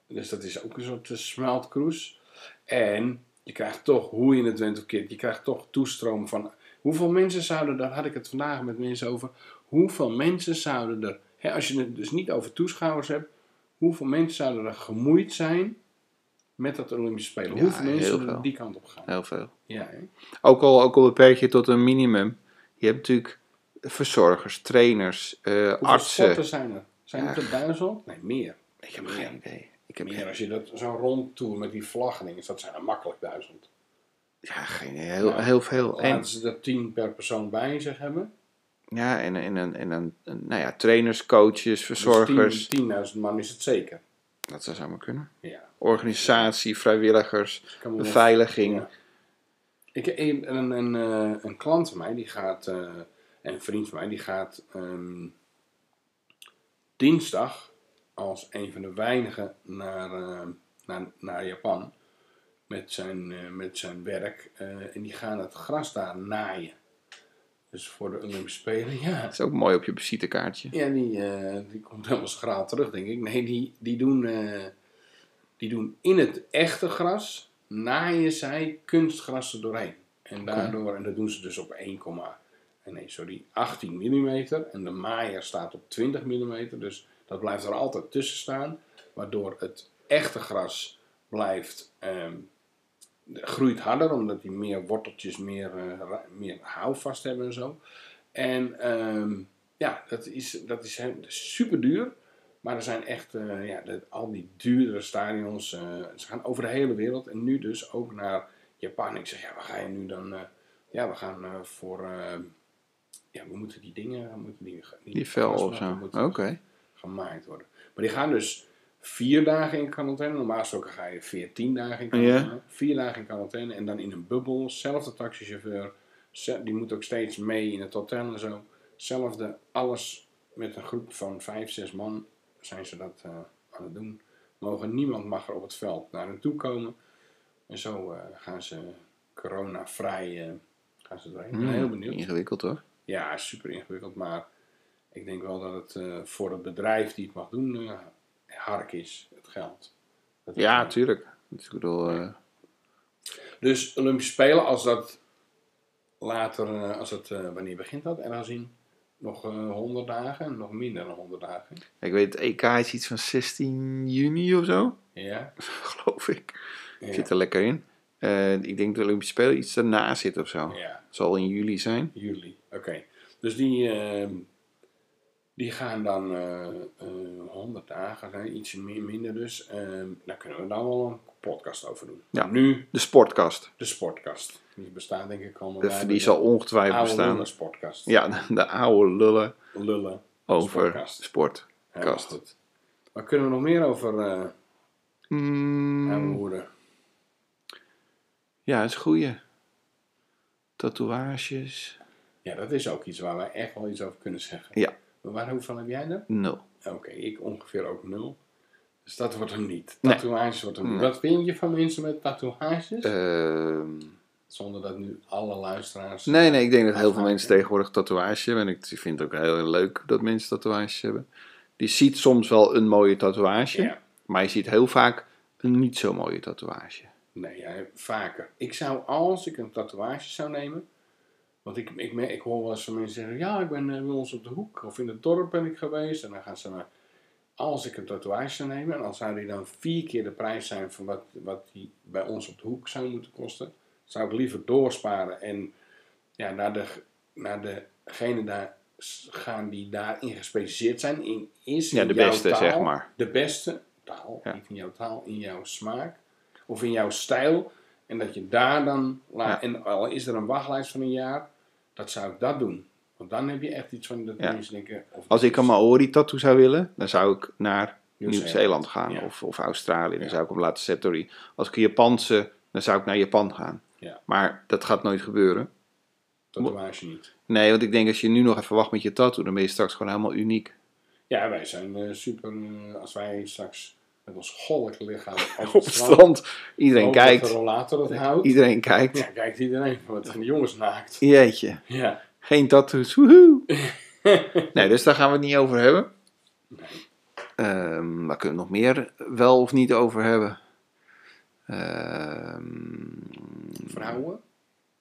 Speaker 1: Dus dat is ook een soort eh, smeltkroes. En je krijgt toch, hoe je het went of keert, je krijgt toch toestroom van... Hoeveel mensen zouden, daar had ik het vandaag met mensen over... Hoeveel mensen zouden er, hè, als je het dus niet over toeschouwers hebt... Hoeveel mensen zouden er gemoeid zijn met dat Olympische Spelen?
Speaker 2: Ja,
Speaker 1: hoeveel mensen
Speaker 2: heel
Speaker 1: zouden
Speaker 2: veel.
Speaker 1: die kant op gaan?
Speaker 2: heel veel.
Speaker 1: Ja, hè?
Speaker 2: Ook al, ook al beperk je het tot een minimum. Je hebt natuurlijk verzorgers, trainers, eh,
Speaker 1: Hoeveel
Speaker 2: artsen.
Speaker 1: sporten zijn er? Zijn het er duizend? Nee, meer.
Speaker 2: Ik heb geen idee. Ik heb
Speaker 1: Meer als je dat zo'n rondtoer met die vlaggen en dingen... Dat zijn er makkelijk duizend.
Speaker 2: Ja, geen, heel,
Speaker 1: Ja.
Speaker 2: heel veel. En,
Speaker 1: Laten ze er tien per persoon bij zich hebben.
Speaker 2: ja, en, en, en, en, en- en- nou ja, trainers, coaches,
Speaker 1: Dus
Speaker 2: verzorgers.
Speaker 1: 10 10.000 man is het zeker.
Speaker 2: dat zou zomaar kunnen.
Speaker 1: Ja.
Speaker 2: Organisatie, vrijwilligers,
Speaker 1: Ik kan me wel-
Speaker 2: beveiliging.
Speaker 1: Ja. Ik, een, een, een, eh, een klant van mij, die gaat, eh, en een vriend van mij, die gaat ehm, dinsdag als een van de weinigen naar, eh, naar, naar Japan met zijn, eh, met zijn werk. eh, en die gaan het gras daar naaien. Dus voor de Olympische Spelen, *laughs* ja.
Speaker 2: Dat is ook mooi op je visitekaartje.
Speaker 1: Ja, die, eh, die komt helemaal schraal terug, denk ik. Nee, die, die, doen, eh, die doen in het echte gras, naaien zij kunstgras er doorheen. En daardoor, en dat doen ze dus op 1, eh, nee, sorry, 18 mm. En de maaier staat op 20 mm. Dus dat blijft er altijd tussen staan. Waardoor het echte gras blijft, ehm, groeit harder, omdat die meer worteltjes, meer, eh, ra- meer houvast hebben en zo. En ehm, ja, dat is, dat is super duur. Maar er zijn echt eh, ja, de- al die duurdere stadions. eh, ze gaan over de hele wereld. En nu dus ook naar Japan. Ik zeg, ja, waar ga je nu dan? eh, ja, we gaan eh, voor. eh, ja, we moeten die dingen. We moeten die,
Speaker 2: Die vel of zo. Oké.
Speaker 1: moeten Gemaakt worden. Maar die gaan dus vier dagen in quarantaine. Normaal gesproken ga je 14 dagen in quarantaine. Vier dagen in quarantaine en dan in een bubbel. Zelfde taxichauffeur. Ze- Die moet ook steeds mee in het hotel en zo. Zelfde, alles met een groep van vijf, zes man zijn ze dat eh, aan het doen. Mogen, niemand mag er op het veld naar hen toe komen. En zo eh, gaan ze corona-vrij eh, gaan ze doorheen. Ik ben
Speaker 2: Hmm,
Speaker 1: heel benieuwd.
Speaker 2: Ingewikkeld hoor.
Speaker 1: Ja, super ingewikkeld, maar ik denk wel dat het eh, voor het bedrijf die het mag doen, eh, hark is, het geld. Dat is-
Speaker 2: Ja, tuurlijk. Ik bedoel, eh,
Speaker 1: Dus Olympische Spelen, als dat later, eh, als het, eh, wanneer begint dat? Ergens in nog eh 100 dagen, nog minder dan 100 dagen.
Speaker 2: ik weet, het EK is iets van 16 juni of zo, *laughs*
Speaker 1: Ja,
Speaker 2: geloof ik.
Speaker 1: ja,
Speaker 2: Zit er lekker in. Eh, ik denk dat de Olympische Spelen iets daarna zit of zo.
Speaker 1: ja
Speaker 2: Zal in juli zijn.
Speaker 1: juli. Oké, dus die, ehm, die gaan dan eh, eh, 100 dagen, hè, iets mi- minder dus. Ehm, daar kunnen we dan wel een podcast over doen.
Speaker 2: Ja.
Speaker 1: Nu
Speaker 2: De sportkast.
Speaker 1: De Sportcast. Die bestaat denk ik al.
Speaker 2: De, die zal ongetwijfeld
Speaker 1: oude
Speaker 2: bestaan.
Speaker 1: lullen Sportcast.
Speaker 2: Ja, de, de oude lullen
Speaker 1: Lullen.
Speaker 2: over
Speaker 1: Sportkast.
Speaker 2: sport.
Speaker 1: Helemaal
Speaker 2: Kast.
Speaker 1: goed. Waar kunnen we nog meer over eh
Speaker 2: Mm,
Speaker 1: oude hoeren?
Speaker 2: ja, dat is een goeie. Tatoeages.
Speaker 1: Ja, dat is ook iets waar wij echt wel iets over kunnen zeggen.
Speaker 2: Ja.
Speaker 1: Maar waar, hoeveel heb jij er?
Speaker 2: Nul.
Speaker 1: Oké, ik ongeveer ook nul. Dus dat wordt hem niet.
Speaker 2: Nee.
Speaker 1: Tatoeages wordt hem niet.
Speaker 2: Nee.
Speaker 1: Wat vind je van mensen met tatoeages?
Speaker 2: Ehm,
Speaker 1: Zonder dat nu alle luisteraars...
Speaker 2: Nee, nee, ik denk dat heel veel
Speaker 1: Afhaken.
Speaker 2: mensen tegenwoordig tatoeage hebben. En ik vind het ook heel, heel leuk dat mensen tatoeages hebben. Je ziet soms wel een mooie tatoeage,
Speaker 1: Ja.
Speaker 2: maar je ziet heel vaak een niet zo mooie tatoeage.
Speaker 1: Nee, ja, vaker. Ik zou, als ik een tatoeage zou nemen. Want ik, ik, me- ik hoor wel eens van mensen zeggen: Ja, ik ben eh, bij ons op de hoek of in het dorp ben ik geweest. En dan gaan ze naar. Als ik een tatoeage zou nemen, en als zou die dan vier keer de prijs zijn van wat, wat die bij ons op de hoek zou moeten kosten, zou ik liever doorsparen en ja, naar, de, naar degene daar s- gaan die daarin gespecialiseerd zijn. In, is in
Speaker 2: Ja, de
Speaker 1: jouw
Speaker 2: beste,
Speaker 1: taal,
Speaker 2: zeg maar.
Speaker 1: De beste taal,
Speaker 2: Ja.
Speaker 1: niet in jouw taal, in jouw smaak of in jouw stijl. En dat je daar dan, la-
Speaker 2: Ja.
Speaker 1: en al is er een wachtlijst van een jaar, dat zou ik dat doen. Want dan heb je echt iets van dat
Speaker 2: Ja.
Speaker 1: mensen denken. Of
Speaker 2: Als ik een Maori-tattoo zou willen, dan zou ik naar
Speaker 1: Nieuw-Zeeland.
Speaker 2: Nieuw-Zeeland gaan.
Speaker 1: Ja.
Speaker 2: Of, of Australië, dan
Speaker 1: Ja.
Speaker 2: zou ik hem laten Satori. Als ik een Japanse, dan zou ik naar Japan gaan.
Speaker 1: Ja.
Speaker 2: Maar dat gaat nooit gebeuren.
Speaker 1: tatoeage niet.
Speaker 2: Nee, want ik denk als je nu nog even wacht met je tattoo, dan ben je straks gewoon helemaal uniek.
Speaker 1: Ja, wij zijn eh, super. eh, als wij straks met ons golk
Speaker 2: *laughs*
Speaker 1: lichaam
Speaker 2: Op het strand, iedereen
Speaker 1: hopen dat
Speaker 2: kijkt.
Speaker 1: De rollator dat houdt.
Speaker 2: Iedereen
Speaker 1: *laughs*
Speaker 2: kijkt.
Speaker 1: Ja, kijkt iedereen. Wat zijn de jongens naakt?
Speaker 2: Jeetje.
Speaker 1: Ja.
Speaker 2: Geen tattoos, *laughs* woehoe. nee, dus daar gaan we het niet over hebben. Ehm, waar kunnen we nog meer wel of niet over hebben? Ehm,
Speaker 1: Vrouwen?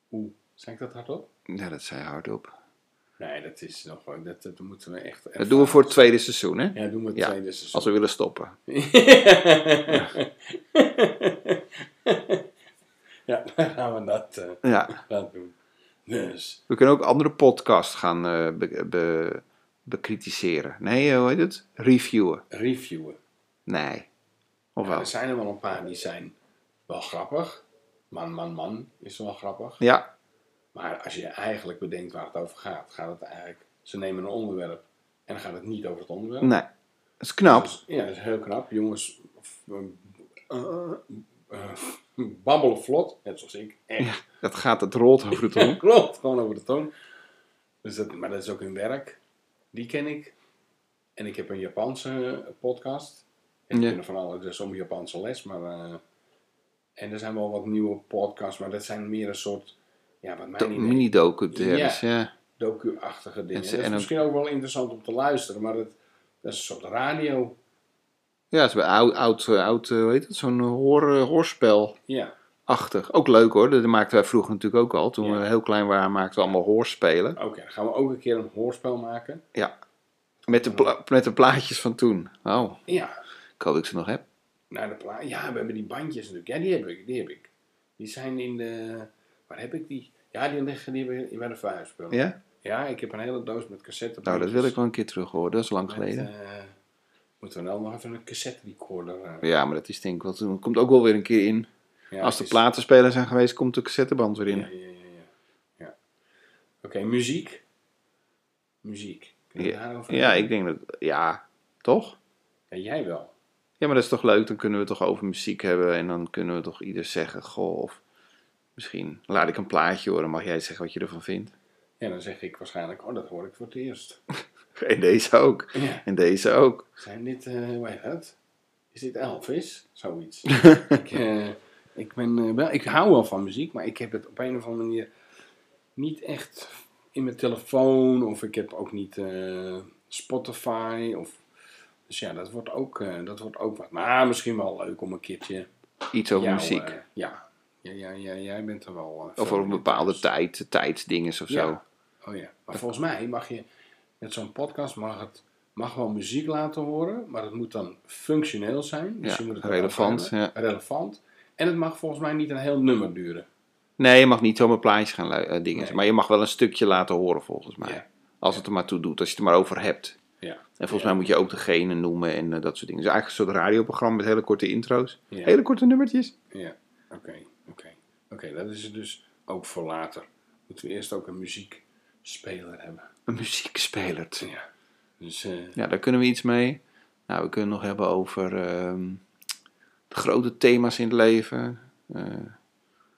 Speaker 1: Hoe? Zeg ik dat hardop?
Speaker 2: ja, dat zei hardop.
Speaker 1: Nee, dat is nog wel. Dat, dat moeten we echt.
Speaker 2: Dat doen we voor het tweede seizoen, hè?
Speaker 1: Ja, doen we het
Speaker 2: Ja,
Speaker 1: tweede seizoen.
Speaker 2: Als we willen stoppen.
Speaker 1: *laughs* ja, dan gaan we dat, eh,
Speaker 2: Ja,
Speaker 1: dat doen. Dus,
Speaker 2: we kunnen ook andere podcasts gaan eh, be- be- bekritiseren. Nee, eh, hoe heet het? Reviewen.
Speaker 1: reviewen.
Speaker 2: Nee. Of
Speaker 1: Ja,
Speaker 2: wel?
Speaker 1: er zijn er wel een paar die zijn wel grappig. Man, man, man is wel grappig.
Speaker 2: Ja,
Speaker 1: Maar als je eigenlijk bedenkt waar het over gaat, gaat het eigenlijk... Ze nemen een onderwerp en dan gaat het niet over het onderwerp.
Speaker 2: nee. Dat is knap.
Speaker 1: Dus, ja, dat is heel knap. Jongens, f- eh, eh, eh, babbelen vlot, net zoals ik. Echt.
Speaker 2: Dat gaat, het rolt over het om.
Speaker 1: *laughs* Klopt, gewoon over de toon. Dus dat, maar dat is ook hun werk. Die ken ik. En ik heb een Japanse eh, podcast. En die
Speaker 2: Ja.
Speaker 1: kunnen van alle, dus sommige Japanse les, maar... eh, en er zijn wel wat nieuwe podcasts, maar dat zijn meer een soort... Ja, wat mij niet
Speaker 2: Mini-documentaires, ja.
Speaker 1: docu-achtige dingen.
Speaker 2: En ze-
Speaker 1: dat is
Speaker 2: en ook-
Speaker 1: misschien ook wel interessant om te luisteren, maar dat, dat is een soort radio.
Speaker 2: Ja, het is bij oud, oud, eh, oud eh, hoe heet het, zo'n hoor, eh, hoorspel.
Speaker 1: Ja,
Speaker 2: Achtig. Ook leuk hoor, dat maakten wij vroeger natuurlijk ook al. Toen
Speaker 1: Ja.
Speaker 2: we heel klein waren, maakten we allemaal hoorspelen.
Speaker 1: oké. dan gaan we ook een keer een hoorspel maken.
Speaker 2: Met de, pla- met de plaatjes van toen. Oh,
Speaker 1: Ja,
Speaker 2: ik hoop dat ik ze nog heb.
Speaker 1: naar de plaat. Ja, we hebben die bandjes natuurlijk. Ja, die heb ik. Die, heb ik. die zijn in de... Waar heb ik die? Ja, die liggen die hebben bij de vuilspullen.
Speaker 2: Ja?
Speaker 1: Ja, ik heb een hele doos met cassettes.
Speaker 2: Nou, dat wil ik wel een keer terug horen. Dat is lang geleden.
Speaker 1: eh, moeten we nou nog even een cassette recorder... eh,
Speaker 2: Ja, maar dat is denk ik wel. toen- komt ook wel weer een keer in.
Speaker 1: ja,
Speaker 2: Als de
Speaker 1: is-
Speaker 2: platenspelers zijn geweest, komt de cassetteband weer in.
Speaker 1: Ja, ja, ja. ja. ja. Oké, muziek. Muziek. Kun je
Speaker 2: Ja.
Speaker 1: daarover
Speaker 2: Ja, ik denk dat. Ja, toch?
Speaker 1: Ja, jij wel.
Speaker 2: Ja, maar dat is toch leuk? Dan kunnen we het toch over muziek hebben en dan kunnen we toch ieder zeggen: Goh, of misschien laat ik een plaatje horen, mag jij zeggen wat je ervan vindt? *laughs*
Speaker 1: Ja, dan zeg ik waarschijnlijk, oh, dat hoor ik voor het eerst. *laughs*
Speaker 2: En deze ook.
Speaker 1: Ja.
Speaker 2: En deze ook.
Speaker 1: Zijn dit, eh hoe heet dat? Is dit Elvis?
Speaker 2: *laughs*
Speaker 1: Zoiets. ik, eh, ik, ben, eh, wel, ik hou wel van muziek, maar ik heb het op een of andere manier niet echt in mijn telefoon. Of ik heb ook niet eh, Spotify. Of, dus ja, dat wordt, ook, eh, dat wordt ook wat. Maar misschien wel leuk om een keertje...
Speaker 2: Iets over
Speaker 1: jouw,
Speaker 2: muziek.
Speaker 1: eh, ja. Ja, ja, ja, jij bent er wel... eh,
Speaker 2: of
Speaker 1: veel
Speaker 2: over
Speaker 1: in.
Speaker 2: een bepaalde tijd, tijdsdinges of
Speaker 1: Ja.
Speaker 2: zo.
Speaker 1: Oh ja, maar volgens mij mag je met zo'n podcast mag het mag wel muziek laten horen, maar het moet dan functioneel zijn. Dus
Speaker 2: Ja,
Speaker 1: je moet het
Speaker 2: relevant,
Speaker 1: erover hebben. relevant. En het mag volgens mij niet een heel nummer duren.
Speaker 2: Nee, je mag niet zomaar plaatjes gaan lu- eh, dingen.
Speaker 1: Nee.
Speaker 2: Maar je mag wel een stukje laten horen, volgens mij.
Speaker 1: Ja.
Speaker 2: Als het er maar toe doet, als je het er maar over hebt.
Speaker 1: Ja.
Speaker 2: En volgens mij moet je ook degene noemen en eh, dat soort dingen. Dus eigenlijk een soort radioprogramma met hele korte intro's.
Speaker 1: Ja.
Speaker 2: Hele korte nummertjes.
Speaker 1: Ja, oké, oké. Oké, dat is het dus ook voor later. Moeten we eerst ook een muziekspeler hebben.
Speaker 2: Een muziekspeler.
Speaker 1: Ja. Dus eh,
Speaker 2: Ja, daar kunnen we iets mee. Nou, we kunnen het nog hebben over ehm, de grote thema's in het leven. Eh,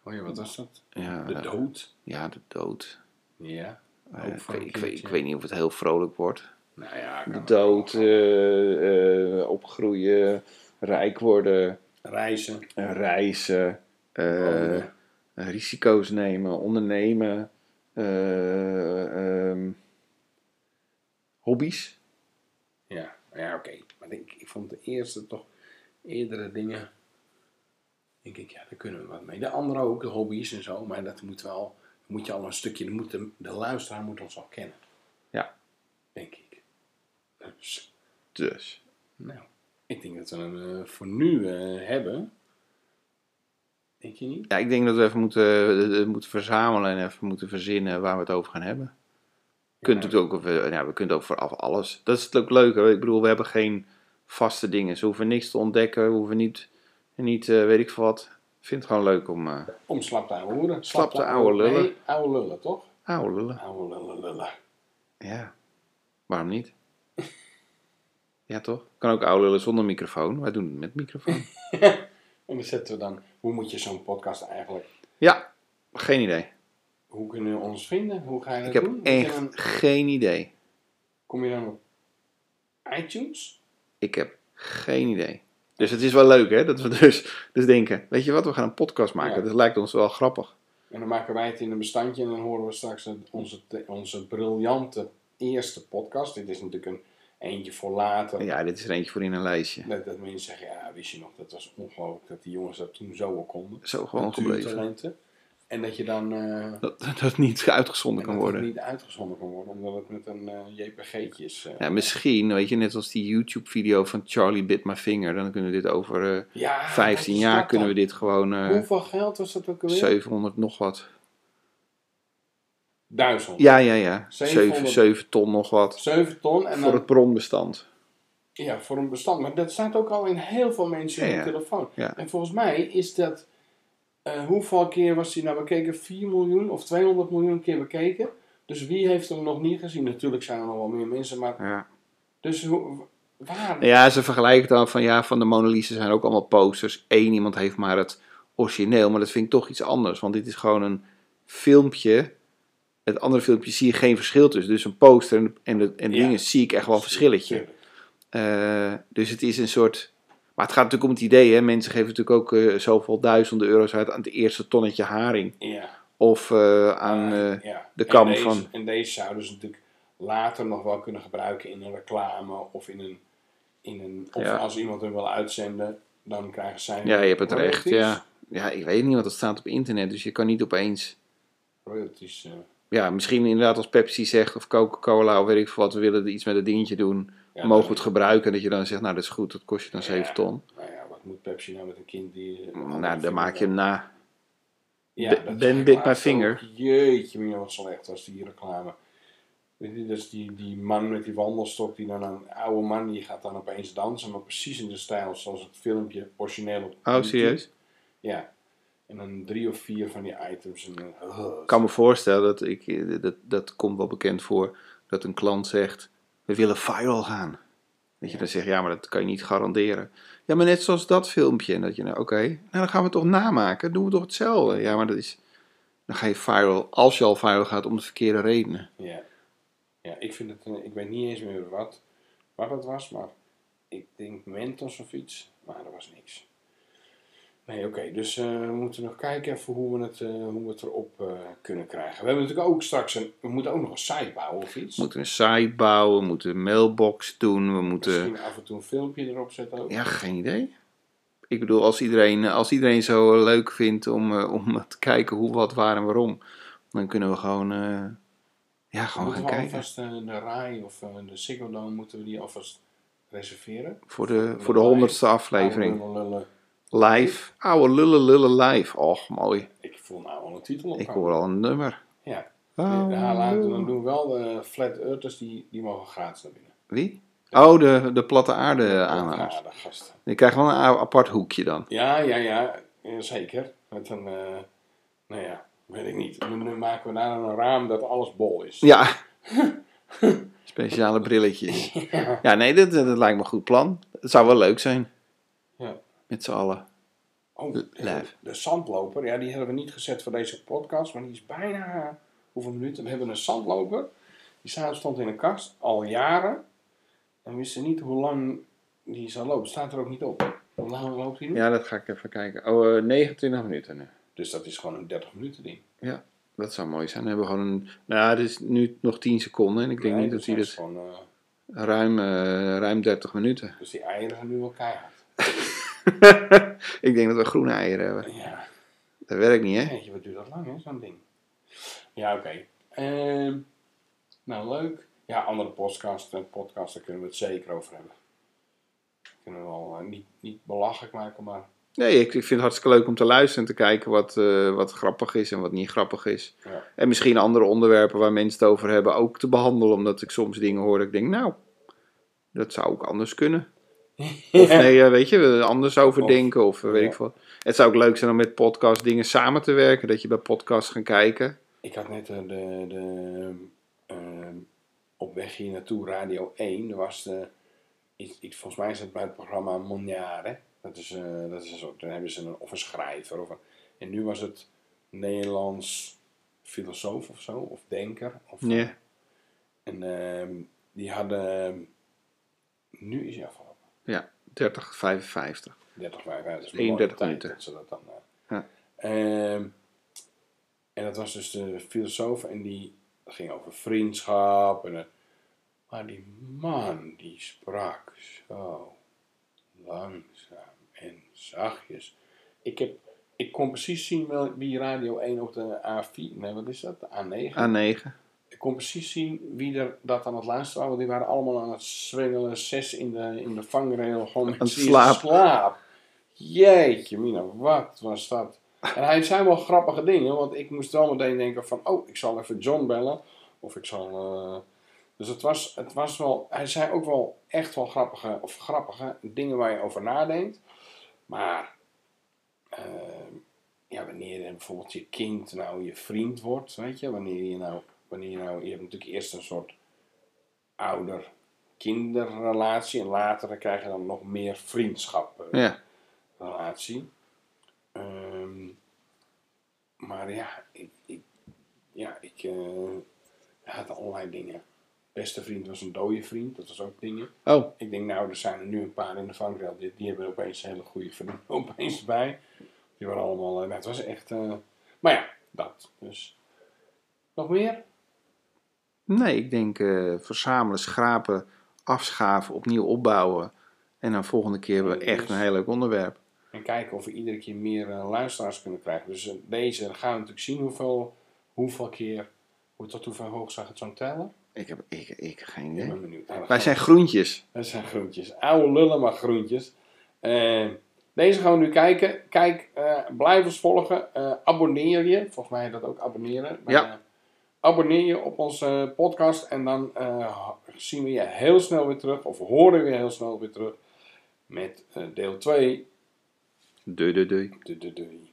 Speaker 1: oh ja, wat was dat?
Speaker 2: ja,
Speaker 1: De dood.
Speaker 2: ja, de dood.
Speaker 1: Ja.
Speaker 2: Eh,
Speaker 1: Ook
Speaker 2: ik,
Speaker 1: voor
Speaker 2: weet-
Speaker 1: een
Speaker 2: ik, weet, ik
Speaker 1: keertje.
Speaker 2: weet niet of het heel vrolijk wordt.
Speaker 1: Nou ja, kan
Speaker 2: De
Speaker 1: wel.
Speaker 2: dood, eh, eh, opgroeien, rijk worden,
Speaker 1: reizen.
Speaker 2: eh, reizen, eh,
Speaker 1: wonen.
Speaker 2: risico's nemen, ondernemen, eh, ehm, hobby's.
Speaker 1: Ja, ja oké. Maar ik, ik vond de eerste toch eerdere dingen. Ik denk, ja, daar kunnen we wat mee. De andere ook, de hobby's en zo. Maar dat moet wel, moet je al een stukje, moet de, de luisteraar moet ons al kennen.
Speaker 2: Ja.
Speaker 1: Denk ik. Dus,
Speaker 2: Dus,
Speaker 1: nou, ik denk dat we hem eh, voor nu eh, hebben. Denk je niet?
Speaker 2: ja, ik denk dat we even moeten, eh, moeten verzamelen en even moeten verzinnen waar we het over gaan hebben. Je kunt
Speaker 1: Ja.
Speaker 2: natuurlijk ook, over- ja, we kunnen het ook voor alles. Dat is het ook leuk. hoor. Ik bedoel, we hebben geen vaste dingen. Ze hoeven niks te ontdekken, we hoeven niet, niet eh, weet ik veel wat. Ik vind het gewoon leuk om... eh,
Speaker 1: Om slap te ouwe hoeren.
Speaker 2: Slap te ouwe lullen.
Speaker 1: Nee, ouwe lullen, toch?
Speaker 2: Oude lullen.
Speaker 1: Ouwe lullen lullen.
Speaker 2: Ja. Waarom
Speaker 1: *laughs*
Speaker 2: niet? Ja, toch? Kan ook oude lullen zonder microfoon. Wij doen het met
Speaker 1: *laughs*
Speaker 2: microfoon.
Speaker 1: En dan zetten we dan, hoe moet je zo'n podcast eigenlijk
Speaker 2: Ja, geen idee.
Speaker 1: Hoe kunnen we ons vinden? Hoe ga je dat
Speaker 2: Ik heb
Speaker 1: doen? Moet je
Speaker 2: echt
Speaker 1: dan-
Speaker 2: geen idee.
Speaker 1: kom je dan op iTunes?
Speaker 2: Ik heb geen idee. Dus het is wel leuk, hè? Dat we dus, dus denken, weet je wat, we gaan een podcast maken.
Speaker 1: Ja.
Speaker 2: Dat lijkt ons wel grappig.
Speaker 1: En dan maken wij het in een bestandje en dan horen we straks het- onze, te- onze briljante eerste podcast. Dit is natuurlijk een eentje voor later.
Speaker 2: Ja, dit is er eentje voor in een lijstje.
Speaker 1: Dat, dat mensen zeggen, ja, wist je nog, dat was ongelooflijk dat die jongens dat toen zo al konden.
Speaker 2: Zo gewoon gebleven.
Speaker 1: Natuurtalenten. En dat je dan eh, en
Speaker 2: Dat, *laughs* dat niet uitgezonden
Speaker 1: dat
Speaker 2: kan
Speaker 1: het
Speaker 2: worden.
Speaker 1: niet uitgezonden kan worden, omdat het met een eh, JPG'tje is. eh.
Speaker 2: Ja, misschien, weet je, net als die YouTube-video van Charlie Bit My Finger. Dan kunnen we dit over eh,
Speaker 1: ja,
Speaker 2: 15
Speaker 1: wat is
Speaker 2: jaar
Speaker 1: Ah, dat
Speaker 2: kunnen we
Speaker 1: dan?
Speaker 2: dit gewoon eh,
Speaker 1: Hoeveel geld was dat ook alweer?
Speaker 2: 700 nog wat.
Speaker 1: 1000.
Speaker 2: Ja, ja, ja. 7,
Speaker 1: 700.
Speaker 2: 7 ton nog wat.
Speaker 1: 7 ton. En
Speaker 2: Voor
Speaker 1: dan
Speaker 2: het bronbestand.
Speaker 1: Ja, voor een bestand. Maar dat staat ook al in heel veel mensen
Speaker 2: Ja,
Speaker 1: in
Speaker 2: ja.
Speaker 1: de telefoon.
Speaker 2: Ja.
Speaker 1: En volgens mij is dat Eh, hoeveel keer was hij nou bekeken? 4 miljoen of 200 miljoen keer bekeken. Dus wie heeft hem nog niet gezien? Natuurlijk zijn er nog wel meer mensen, maar...
Speaker 2: Ja.
Speaker 1: Dus hoe, waar?
Speaker 2: ja, ze vergelijken dan van ja, van de Mona Lisa zijn ook allemaal posters. Eén iemand heeft maar het origineel, maar dat vind ik toch iets anders. Want dit is gewoon een filmpje. Het andere filmpje zie je geen verschil tussen. Dus een poster en, en, de- en
Speaker 1: Ja.
Speaker 2: dingen zie ik echt wel een verschilletje.
Speaker 1: Tuurlijk.
Speaker 2: Eh, dus het is een soort. Maar het gaat natuurlijk om het idee, hè? Mensen geven natuurlijk ook eh, zoveel duizenden euro's uit aan het eerste tonnetje haring.
Speaker 1: Ja.
Speaker 2: Of eh, aan.
Speaker 1: Maar,
Speaker 2: eh,
Speaker 1: Ah, ja.
Speaker 2: de
Speaker 1: En
Speaker 2: kam
Speaker 1: deze-
Speaker 2: van-
Speaker 1: En deze zouden ze natuurlijk later nog wel kunnen gebruiken in een reclame of in een... In een of
Speaker 2: Ja.
Speaker 1: als iemand hem wil uitzenden, dan krijgen zij...
Speaker 2: ja, je hebt het recht.
Speaker 1: royalties.
Speaker 2: Ja. ja, ik weet niet, want dat staat op internet. Dus je kan niet opeens.
Speaker 1: Royalties, eh,
Speaker 2: Ja, misschien inderdaad als Pepsi zegt of Coca-Cola of weet ik veel wat, we willen er iets met het dingetje doen.
Speaker 1: ja,
Speaker 2: mogen we
Speaker 1: dan-
Speaker 2: het gebruiken? En dat je dan zegt, nou dat is goed, dat kost je dan
Speaker 1: Ja.
Speaker 2: 7 ton.
Speaker 1: Nou ja, wat moet Pepsi nou met een kind die... eh,
Speaker 2: Nou, dan maak je hem na.
Speaker 1: Ja,
Speaker 2: Ben-
Speaker 1: dat
Speaker 2: Ben
Speaker 1: is
Speaker 2: bit
Speaker 1: waar.
Speaker 2: my finger.
Speaker 1: Ook, Jeetje, mina, wat slecht was die reclame. Weet je, dat is die, die man met die wandelstok, die dan een oude man, die gaat dan opeens dansen, maar precies in de stijl zoals het filmpje origineel op
Speaker 2: Oh,
Speaker 1: YouTube.
Speaker 2: serieus?
Speaker 1: Ja. En dan drie of vier van die items. En, dan- eh,
Speaker 2: Ik kan me voorstellen, dat, ik, eh, dat, dat komt wel bekend voor, dat een klant zegt, we willen viral gaan. Dat je
Speaker 1: Ja.
Speaker 2: dan zegt, ja, maar dat kan je niet garanderen. Ja, maar net zoals dat filmpje. En dat je, nou oké, nou dan gaan we het toch namaken. Doen we toch hetzelfde. Ja, maar dat is, dan ga je viral, als je al viral gaat, om de verkeerde redenen.
Speaker 1: Ja. Ja, ik vind het, eh, ik weet niet eens meer wat, wat het was, maar ik denk Mentos of iets, maar dat was niks. Nee, oké, dus eh, we moeten nog kijken even hoe we het, eh, hoe we het erop eh, kunnen krijgen. We hebben natuurlijk ook straks een, we moeten ook nog een site bouwen of iets.
Speaker 2: We moeten een site bouwen, we moeten een mailbox doen, we moeten...
Speaker 1: Misschien af en toe een filmpje erop zetten ook.
Speaker 2: eh, Ja, geen idee. Ik bedoel, als iedereen, als iedereen zo eh, leuk vindt om, eh, om *laughs* te kijken hoe, wat, waar en waarom, dan kunnen we gewoon, eh, ja,
Speaker 1: Dan
Speaker 2: gewoon
Speaker 1: moeten
Speaker 2: gaan
Speaker 1: we
Speaker 2: kijken.
Speaker 1: alvast eh, de RAI of eh, de Ziggo Dome moeten we die alvast reserveren.
Speaker 2: Voor de, voor de honderdste aflevering.
Speaker 1: Oude lullen.
Speaker 2: Live. Oude lullen lullen live. Och, mooi.
Speaker 1: Ik voel nou al een titel op.
Speaker 2: Ik hoor al een nummer. Oh.
Speaker 1: Ja.
Speaker 2: Oude
Speaker 1: ja, laten we dan
Speaker 2: lullen.
Speaker 1: doen we wel de flat earthers, die, die mogen gratis naar binnen.
Speaker 2: Wie? Oh, de, de platte aarde aanhangers.
Speaker 1: Ja, de gasten.
Speaker 2: Ik krijg wel een a- apart hoekje dan.
Speaker 1: Ja, ja, ja, ja, zeker. Met een, eh, nou ja, weet ik niet. Nu, nu maken we daar een raam dat alles bol is.
Speaker 2: Ja. *laughs* Speciale brilletjes. Ja, nee, dat, dat lijkt me een goed plan. Het zou wel leuk zijn.
Speaker 1: Ja.
Speaker 2: Met z'n allen.
Speaker 1: *laughs* Oh,
Speaker 2: Lijf.
Speaker 1: de zandloper, ja, die hebben we niet gezet voor deze podcast, maar die is bijna, eh, hoeveel minuten? We hebben een zandloper, die staat- stond in een kast, al jaren. En we wisten niet hoe lang die zou lopen. Staat er ook niet op. Hoe lang loopt die nu?
Speaker 2: Ja, dat ga ik even kijken. Oh, eh, 29 minuten. nu.
Speaker 1: Dus dat is gewoon een 30 minuten ding.
Speaker 2: Dat zou mooi zijn. Dan hebben we gewoon een... Nou, het is nu nog 10 seconden. En ik denk
Speaker 1: Nee,
Speaker 2: niet dat hij
Speaker 1: zijn ze
Speaker 2: dat...
Speaker 1: Gewoon, eh,
Speaker 2: Ruim, eh, ruim 30 minuten. *laughs*
Speaker 1: dus die eieren gaan nu wel keihard.
Speaker 2: ik denk dat we groene eieren hebben.
Speaker 1: Ja.
Speaker 2: Dat werkt niet, hè?
Speaker 1: Jeetje, wat duurt dat lang, hè, zo'n ding. Ja, oké. Ehm, nou, leuk. Ja, andere podcasts, eh, podcasts, daar kunnen we het zeker over hebben. Kunnen we wel eh, niet, niet belachelijk maken,
Speaker 2: *laughs*
Speaker 1: maar...
Speaker 2: Nee, ik, ik vind het hartstikke leuk om te luisteren. En te kijken wat, eh, wat grappig is en wat niet grappig is.
Speaker 1: Ja.
Speaker 2: En misschien andere onderwerpen waar mensen het over hebben ook te behandelen. Omdat ik soms dingen hoor dat ik denk, nou... Dat zou ook anders kunnen. Of nee, eh, weet je, er anders over
Speaker 1: Of-
Speaker 2: denken of eh, weet
Speaker 1: ja.
Speaker 2: ik veel. Het zou ook leuk zijn om met podcast dingen samen te werken. Dat je bij podcasts gaat kijken.
Speaker 1: Ik had net eh, de, de ehm, op weg hier naartoe, Radio 1, er was de, iets, iets- volgens mij is dat bij het programma Monjare. Dat is, eh, dat is een soort, dan hebben ze een, of een schrijver. Of een, en nu was het Nederlands filosoof of zo, of denker. Of,
Speaker 2: Ja.
Speaker 1: En ehm, die hadden, nu is hij afgelopen.
Speaker 2: 30, 55.
Speaker 1: 30 mei, ja, dat is
Speaker 2: 31
Speaker 1: 31 tijd
Speaker 2: minuten.
Speaker 1: dat ze dat dan. eh.
Speaker 2: Ja.
Speaker 1: Ehm, en dat was dus de filosoof en die ging over vriendschap. En, eh, maar die man die sprak zo langzaam en zachtjes. Ik, heb, ik kon precies zien wel, wie Radio 1 op de A4, nee wat is dat, de A9.
Speaker 2: A9.
Speaker 1: ik kon precies zien wie er dat aan het luisteren was. Want die waren allemaal aan het zwengelen, zes in de, in de vangrail, gewoon
Speaker 2: Aan het
Speaker 1: precies
Speaker 2: slapen.
Speaker 1: slaap. Jeetje mina, wat was dat? En hij zei wel grappige dingen, want ik moest wel meteen denken van... Oh, ik zal even John bellen. Of ik zal... eh, Dus het was, het was wel... Hij zei ook wel echt wel grappige, of grappige dingen waar je over nadenkt. Maar... eh, ja, wanneer eh, bijvoorbeeld je kind nou je vriend wordt, weet je, wanneer je nou, wanneer je nou, je hebt natuurlijk eerst een soort ouder-kinderrelatie en later dan krijg je dan nog meer eh, vriendschappen
Speaker 2: Ja,
Speaker 1: relatie. Ehm, maar ja, ik, ik, ja, ik eh, had allerlei dingen. Beste vriend was een dode vriend, dat was ook dingen.
Speaker 2: oh,
Speaker 1: Ik denk, nou, er zijn er nu een paar in de vangrail. Die, die hebben opeens hele goede vrienden *laughs* opeens bij. Die waren allemaal, eh, nou, het was echt, eh, maar ja, dat. Dus, nog meer?
Speaker 2: nee, ik denk eh, verzamelen, schrapen, afschaven, opnieuw opbouwen. En dan volgende keer weer echt een heel leuk onderwerp.
Speaker 1: En kijken of we iedere keer meer eh, luisteraars kunnen krijgen. Dus eh, deze, dan gaan we natuurlijk zien hoeveel, hoeveel keer, hoe, tot hoeveel hoog zag het zo'n teller?
Speaker 2: Ik heb, ik, ik heb geen
Speaker 1: Ik
Speaker 2: idee.
Speaker 1: ben benieuwd. Nou, dan
Speaker 2: Wij
Speaker 1: gaan-
Speaker 2: zijn groentjes.
Speaker 1: Dat zijn groentjes. Oude lullen, maar groentjes. Eh, deze gaan we nu kijken. Kijk, eh, blijf ons volgen. Eh, abonneer je. Volgens mij heet dat ook abonneren. Maar,
Speaker 2: Ja.
Speaker 1: eh, abonneer je op onze eh, podcast. En dan eh, ho- zien we je heel snel weer terug. Of horen we je heel snel weer terug. Met eh, deel 2.
Speaker 2: Doei, doei, doei.
Speaker 1: Doei doei doei.